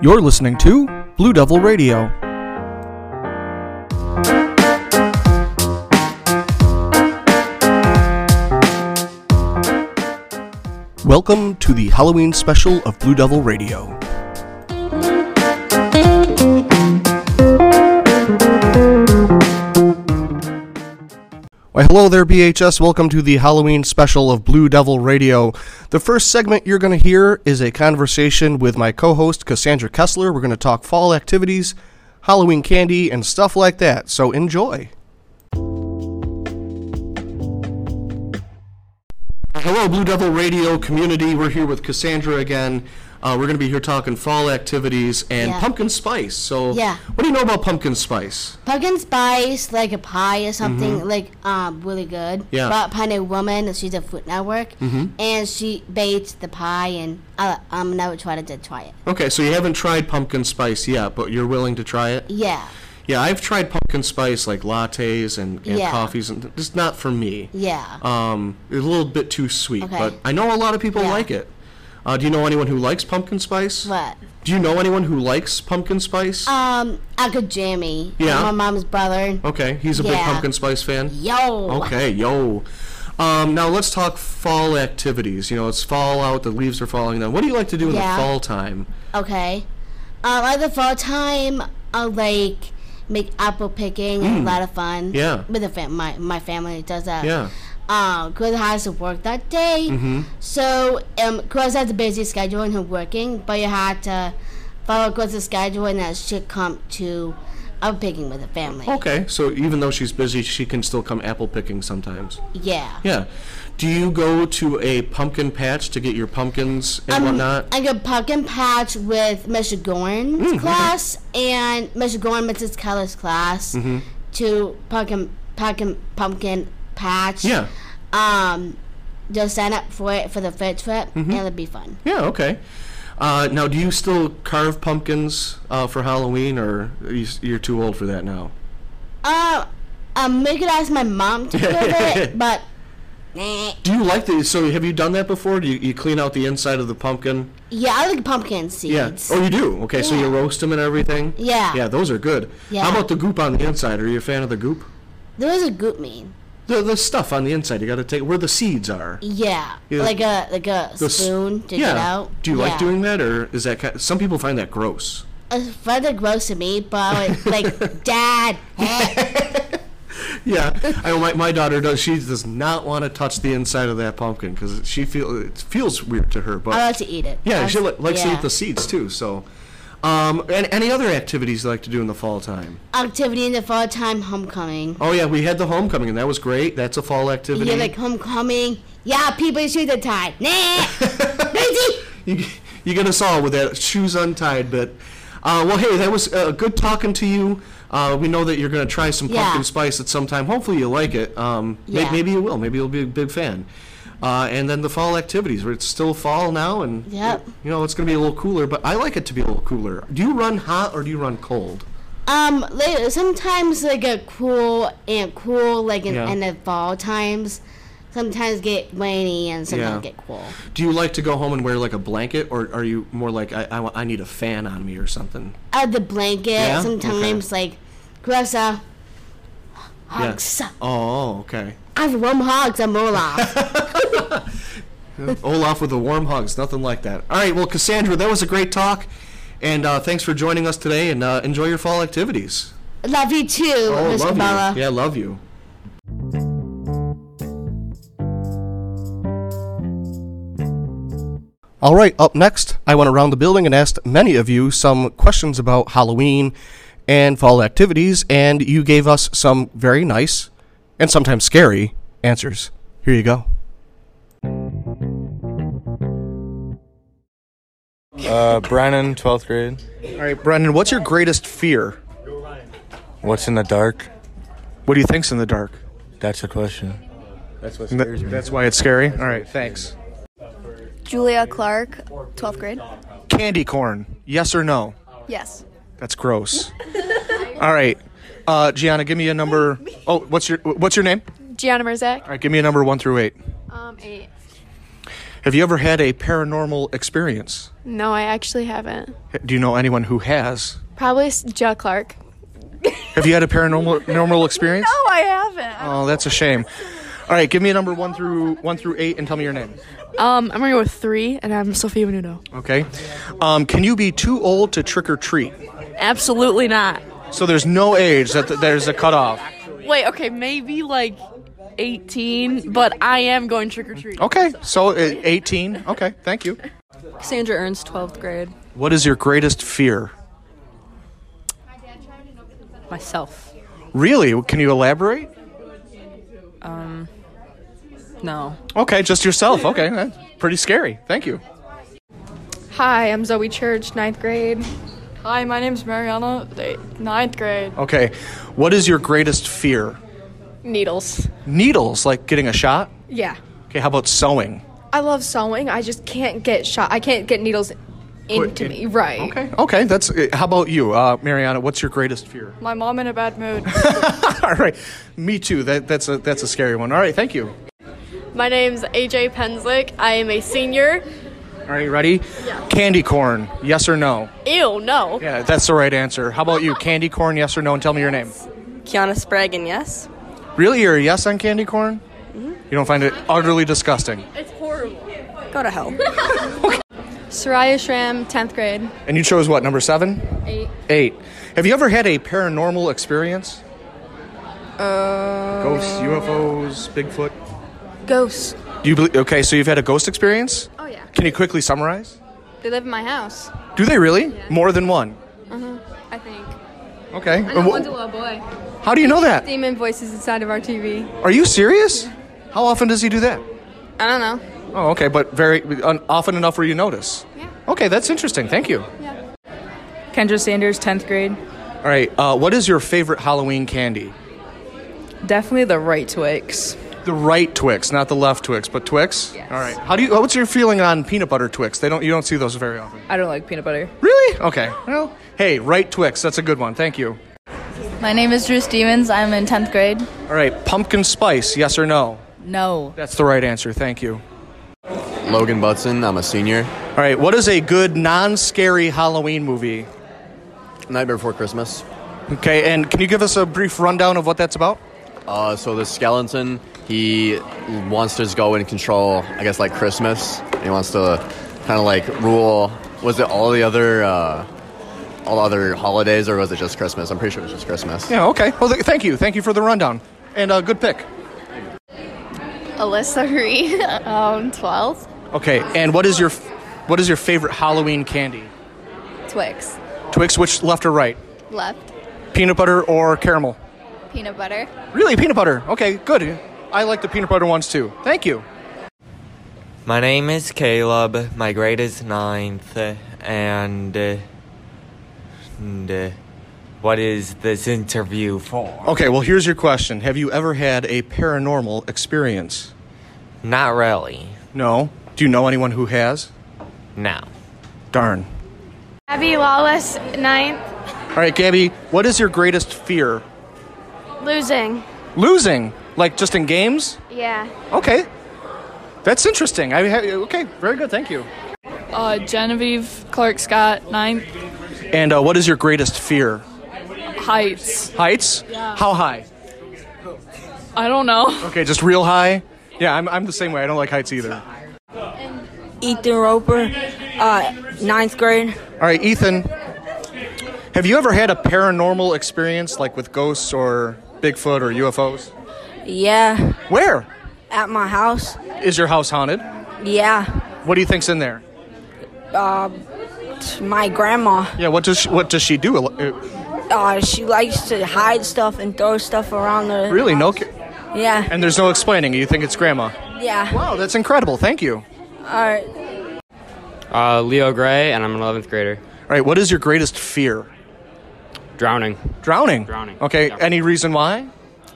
You're listening to Blue Devil Radio. Welcome to the Halloween special of Blue Devil Radio. Why, hello there, BHS. Welcome to the Halloween special of Blue Devil Radio. The first segment you're going to hear is a conversation with my co host, Cassandra Kessler. We're going to talk fall activities, Halloween candy, and stuff like that. So enjoy. Hello, Blue Devil Radio community. We're here with Cassandra again. Uh, we're going to be here talking fall activities and Yeah. pumpkin spice. So, Yeah. what do you know about pumpkin spice? pumpkin spice, like a pie or something, like um, really good. Mm-hmm. Yeah. Mm-hmm. Brought by a woman, and she's a Food Network, and she baked the pie, and I um, never tried it, did try it. Okay, so you haven't tried pumpkin spice yet, but you're willing to try it? Yeah, Yeah, I've tried pumpkin spice like lattes and, and Yeah. coffees, and just not for me. yeah. Um, a little bit too sweet, Okay. but I know a lot of people Yeah. like it. Uh, do you know anyone who likes pumpkin spice? but Do you know anyone who likes pumpkin spice? um, Uncle Jimmy, Yeah. my mom's brother. okay, he's a big yeah. pumpkin spice fan. Yo. Okay, yo. Um, now let's talk fall activities. You know, it's fall out, the leaves are falling down. What do you like to do in Yeah. the fall time? Okay. Um, at the fall time, I like make apple picking. A lot of fun. Mm. Yeah. With the fam- my my family does that. Yeah. Um, Chris has to work that day. Mm-hmm. So um, Chris has a busy schedule and he's working, but you had to follow Chris's schedule and that should come to apple picking with the family. Okay, so even though she's busy, she can still come apple picking sometimes. Yeah. Yeah. Do you go to a pumpkin patch to get your pumpkins and whatnot? Um, I got pumpkin patch with Mr. Mm, Gorn's class and Mr. Gorn Mrs. Keller's class Mm-hmm. to pumpkin pumpkin pumpkin patch. yeah. Um, just sign up for it for the field trip Mm-hmm. and it'll be fun. Yeah, okay. Uh, now, do you still carve pumpkins uh, for Halloween, or are you, s- you're too old for that now? Uh, um, we could ask my mom to do it, but nah. Do you like the? So, have you done that before? Do you, you clean out the inside of the pumpkin? yeah, I like pumpkin Yeah. seeds. Oh, you do. Okay, so you Yeah. roast them and everything. Yeah. Yeah, those are good. Yeah. How about the goop on the inside? Are you a fan of the goop? There was a goop mean. The the stuff on the inside. You got to take where the seeds are. Yeah, Yeah. like a like a s- spoon to yeah. get out. Do you like Yeah. doing that, or is that kind some people find that gross? It's uh, rather gross to me, but I was like, Dad, eh, Yeah, I, my, my daughter does. She does not want to touch the inside of that pumpkin because she feel it feels weird to her. But I like to eat it. yeah, I she li- was- likes to Oh, yeah. eat the seeds too. So, um, and any other activities you like to do in the fall time? activity in the fall time, homecoming. Oh yeah, we had the homecoming and that was great. That's a fall activity. Yeah, like homecoming. Yeah, people shoot the tide. Nah, crazy. you, you get us all with that shoes untied but Uh, well, hey, that was uh, good talking to you. Uh, we know that you're going to try some Yeah. pumpkin spice at some time. Hopefully, you like it. Um, may- Yeah. maybe you will. Maybe you'll be a big fan. Uh, and then the fall activities. where It's still fall now, and Yep. you know it's going to be a little cooler. But I like it to be a little cooler. Do you run hot or do you run cold? Um, like, sometimes like a cool and cool like in, Yeah. in the fall times. Sometimes get rainy and sometimes Yeah. get cool. Do you like to go home and wear like a blanket, or are you more like I, I, wa- I need a fan on me or something? Out Uh, the blanket. Yeah? Okay. Sometimes like, gross. Uh, hugs. Oh, okay. I have warm hugs. I'm all off. Olaf with the warm hugs, nothing like that. All right, well, Cassandra, that was a great talk, and uh, thanks for joining us today. And uh, enjoy your fall activities. love you too, Miss Oh, love Kabbalah. you. Yeah, love you. All right, up next, I went around the building and asked many of you some questions about Halloween and fall activities, and you gave us some very nice and sometimes scary answers. Here you go. Uh, Brennan, 12th grade. All right, Brendan, what's your greatest fear? What's in the dark? What do you think's in the dark? That's a question. That's what Th- that's why it's scary. All right, thanks. Julia Clark, 12th grade. Candy corn, yes or no? Yes. That's gross. All right, uh, Gianna, give me a number. Oh, what's your what's your name? Gianna Marzak. All right, give me a number one through eight. Um, eight. Have you ever had a paranormal experience? No, I actually haven't. Do you know anyone who has? Probably s- Ja Clark. Have you had a paranormal normal experience? No, I haven't. Oh, that's a shame. All right, give me a number one through one through eight, and tell me your name. Um, I'm gonna go with three, and I'm Sophia Menudo. Okay. Um, can you be too old to trick or treat? Absolutely not. So there's no age that there's a cutoff. Wait, okay, maybe like 18, but I am going trick or treat. Okay, so uh, 18. Okay, thank you. Cassandra Ernst, 12th grade. What is your greatest fear? Myself. Really? Can you elaborate? No. Okay, just yourself. Okay, that's pretty scary. Thank you. Hi, I'm Zoe Church, ninth grade. Hi, my name's Mariana, the- ninth grade. Okay, what is your greatest fear? Needles. Needles, like getting a shot? Yeah. Okay, how about sewing? I love sewing. I just can't get shot. I can't get needles into in- me. Right. Okay, okay, that's uh, how about you, uh, Mariana? What's your greatest fear? My mom in a bad mood. All right, me too. That, that's a that's a scary one. All right, thank you. My name's AJ Penslick. I am a senior. All right, ready? Yeah. Candy corn, yes or no? Ew, no. Yeah, that's the right answer. How about you, candy corn, yes or no? And tell me your name. Kiana Spraggan, yes? Really, you're a yes on candy corn? You don't find it utterly disgusting, It's horrible. Go to hell. Soraya Shram, 10th grade. and you chose what number seven? Eight. Eight. Have you ever had a paranormal experience? Uh. Ghosts, UFOs, Bigfoot. Ghosts. Do you believe? Okay, so you've had a ghost experience. Oh, yeah. Can you quickly summarize? They live in my house, Mm-hmm, Do they really? More than one. I think. Okay. I And know wh- one's a little boy. How do you know that? Demon voices inside of our TV. Are you serious? How often does he do that? I don't know. Oh, okay, but very un- often enough where you notice. Yeah. Okay, that's interesting. Thank you. Kendra Sanders, 10th grade. All right. Uh, what is your favorite Halloween candy? Definitely the right Twix. The right Twix, not the left Twix, but Twix. Yes. All right. How do you? What's your feeling on peanut butter Twix? They don't. You don't see those very often. I don't like peanut butter. Really? Okay. Well, hey, right Twix. That's a good one. Thank you. My name is Drew Stevens. I'm in 10th grade. All right. Pumpkin spice. Yes or no? No. That's the right answer. Thank you. Logan Butson, I'm a senior. All right. What is a good non-scary Halloween movie? Nightmare Before Christmas. Okay, and can you give us a brief rundown of what that's about? Uh, so this skeleton, he wants to just go and control, I guess, like Christmas. And he wants to kind of like rule. Was it all the other, uh, all the other holidays, or was it just Christmas? I'm pretty sure it was just Christmas. Yeah, okay. Well, th- thank you. Thank you for the rundown. And uh, good pick. Alyssa Hurry, um, 12. Okay, and what is your f- what is your favorite Halloween candy? Twix. Twix, which left or right? Left. Peanut butter or caramel? Peanut butter. Really, peanut butter. Okay, good. I like the peanut butter ones too. Thank you. My name is Caleb. My grade is ninth, and, uh, and uh, what is this interview for? Okay, well, here's your question. Have you ever had a paranormal experience? Not really. No. Do you know anyone who has? No. Darn. Abby Lawless, ninth. All right, Gabby, what is your greatest fear? Losing. Losing? Like just in games? Yeah. Okay. That's interesting. I ha- okay, very good. Thank you. Uh, Genevieve Clark Scott, ninth. And uh, what is your greatest fear? Heights. Heights? How high? I don't know. Okay, just real high. Yeah, I'm, I'm the same way. I don't like heights either. Ethan Roper, uh, ninth grade. All right, Ethan. Have you ever had a paranormal experience, like with ghosts or Bigfoot or UFOs? Yeah. Where At my house. is your house haunted? Yeah. Uh, What do you think's in there? My grandma. Yeah, what does she, what does she do? Uh, Uh, she likes to hide stuff and throw stuff around the. Really, no. ca- Yeah. And there's no explaining. You think it's grandma? Yeah. Wow, that's incredible. Thank you. All right. Uh, Leo Gray, and I'm an 11th grader. All right, what is your greatest fear? Drowning. Drowning. Drowning, Okay. yeah. Any reason why?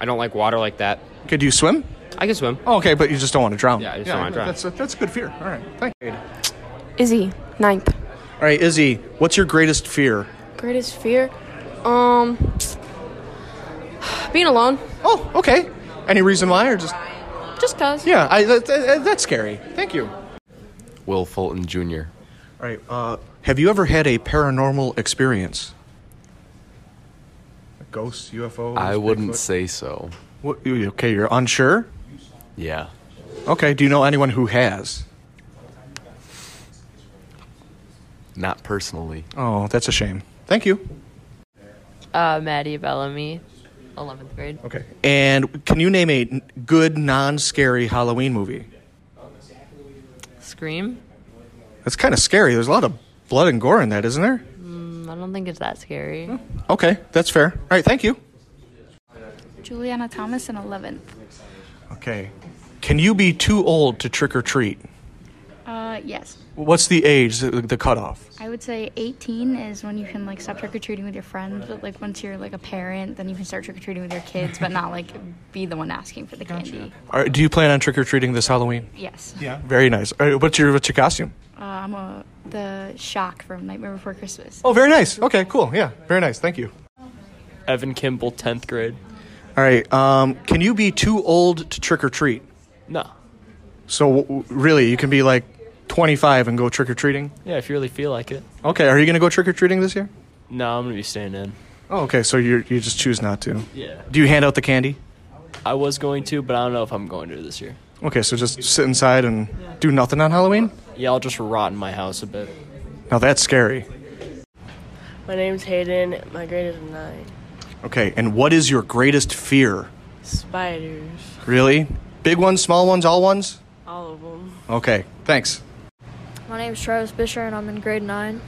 I don't like water like that. Could you swim? I can swim. Oh, okay, but you just don't want to drown. Yeah, I just don't wanna drown. That's a, that's a good fear. All right, thank you. All Izzy, ninth. right, Izzy, what's your greatest fear? Greatest fear? Um, being alone. Oh, okay. Any reason why, or just Just cause. yeah? I, that, that- that's scary. Thank you. Will Fulton Jr. All right. Uh, have you ever had a paranormal experience? Ghosts, UFOs? I wouldn't say so. What, you- okay, you're unsure? Yeah. Okay, do you know anyone who has? Not personally. Oh, that's a shame. Thank you. Uh, Maddie Bellamy, 11th grade. Okay. And can you name a n- good non scary Halloween movie? Scream? That's kind of scary. There's a lot of blood and gore in that, isn't there? Mm, I don't think it's that scary. Okay, that's fair. All right, thank you. Juliana Thomas in 11th. Okay. Can you be too old to trick or treat? Uh, yes. What's the age, the, the cutoff? I would say 18 is when you can like stop trick or treating with your friends, but like once you're like a parent, then you can start trick or treating with your kids, but not like be the one asking for the candy. Are, do you plan on trick or treating this Halloween? Yes. Yeah. Very nice. All right, what's your what's your costume? Uh, I'm a the shock from Nightmare Before Christmas. Oh, very nice. Okay, cool. Yeah, very nice. Thank you. Evan Kimball, 10th grade. All right. Um, can you be too old to trick or treat? No. So w- w- really, you can be like 25 and go trick or treating. Yeah, if you really feel like it. Okay. Are you gonna go trick or treating this year? No, I'm going to be staying in. Oh, okay. So you you just choose not to. Yeah. Do you hand out the candy? I was going to, but I don't know if I'm going to this year. Okay. So just sit inside and do nothing on Halloween. Yeah, I'll just rot in my house a bit. Now that's scary. My name's Hayden. My grade is 9. Okay. And what is your greatest fear? Spiders. Really? Big ones, small ones, all ones? All of them. Okay. Thanks. My name's Travis Fisher and I'm in grade 9.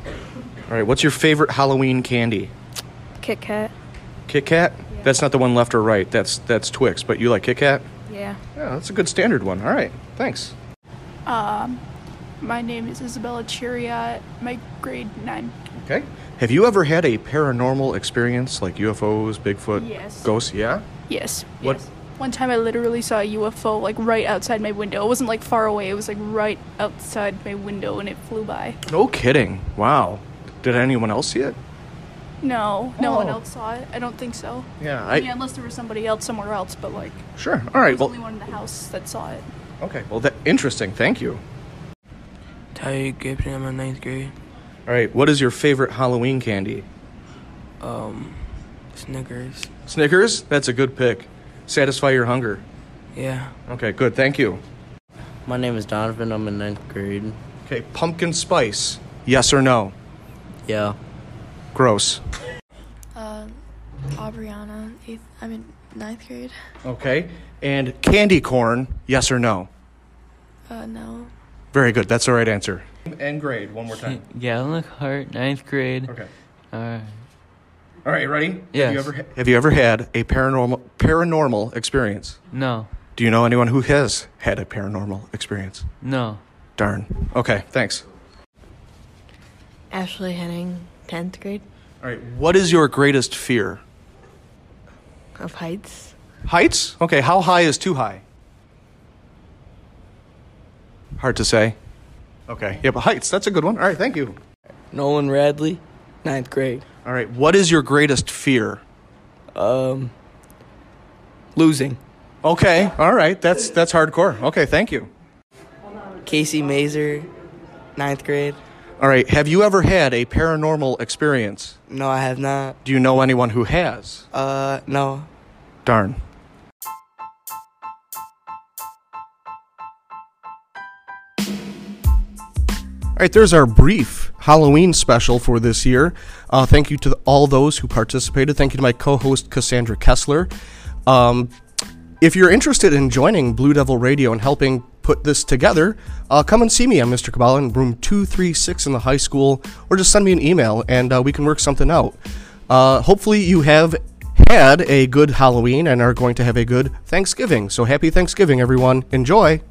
All right. What's your favorite Halloween candy? Kit Kat. Kit Kat? That's not the one left or right. That's that's Twix. But you like Kit Kat? Yeah. Yeah, that's a good standard one. All right. Thanks. Um, my name is Isabella Chiriat. My grade nine. Okay. Have you ever had a paranormal experience like UFOs, Bigfoot, Yes. ghosts? Yeah. Yes. What? One time I literally saw a UFO like right outside my window. It wasn't like far away. It was like right outside my window and it flew by. No kidding. Wow. Did anyone else see it? No, no one Oh. else saw it. I don't think so. Yeah, I, I- mean, unless there was somebody else somewhere else, but like Sure. All right. there's Well, only one in the house that saw it. okay. Well, that interesting. Thank you. Ty Gibson, I'm in ninth grade. All right. What is your favorite Halloween candy? Um, Snickers. Snickers? That's a good pick. Satisfy your hunger. Yeah. Okay, good. Thank you. My name is Donovan. I'm in ninth grade. Okay, pumpkin spice. Yes or no? Yeah. Gross. Uh, Aubriana, eighth, I'm in ninth grade. Okay. And candy corn, yes or no? Uh, no. Very good. That's the right answer. And grade, one more time. Galen Hart, ninth grade. Okay. Uh, All right, ready? Yes. Have you ever, ha- have you ever had a paranormal paranormal experience? no, Do you know anyone who has had a paranormal experience? no. Darn. Okay, thanks. Ashley Henning, 10th grade. All right, what is your greatest fear? Of heights. Heights? Okay, how high is too high? Hard to say. Okay. Yeah, but heights, that's a good one. All right, thank you. Nolan Radley, ninth grade. All right, what is your greatest fear? Um, losing. Okay, all right, that's that's hardcore. Okay, thank you. Casey Mazer, ninth grade. All right, have you ever had a paranormal experience? No, I have not. Do you know anyone who has? Uh, no. Darn. All right, there's our brief Halloween special for this year. Uh, thank you to the, all those who participated. Thank you to my co host, Cassandra Kessler. Um, if you're interested in joining Blue Devil Radio and helping put this together, uh, come and see me. I'm Mr. Kabbalah in room 236 in the high school, or just send me an email and uh, we can work something out. Uh, hopefully, you have had a good Halloween and are going to have a good Thanksgiving. So, happy Thanksgiving, everyone. Enjoy!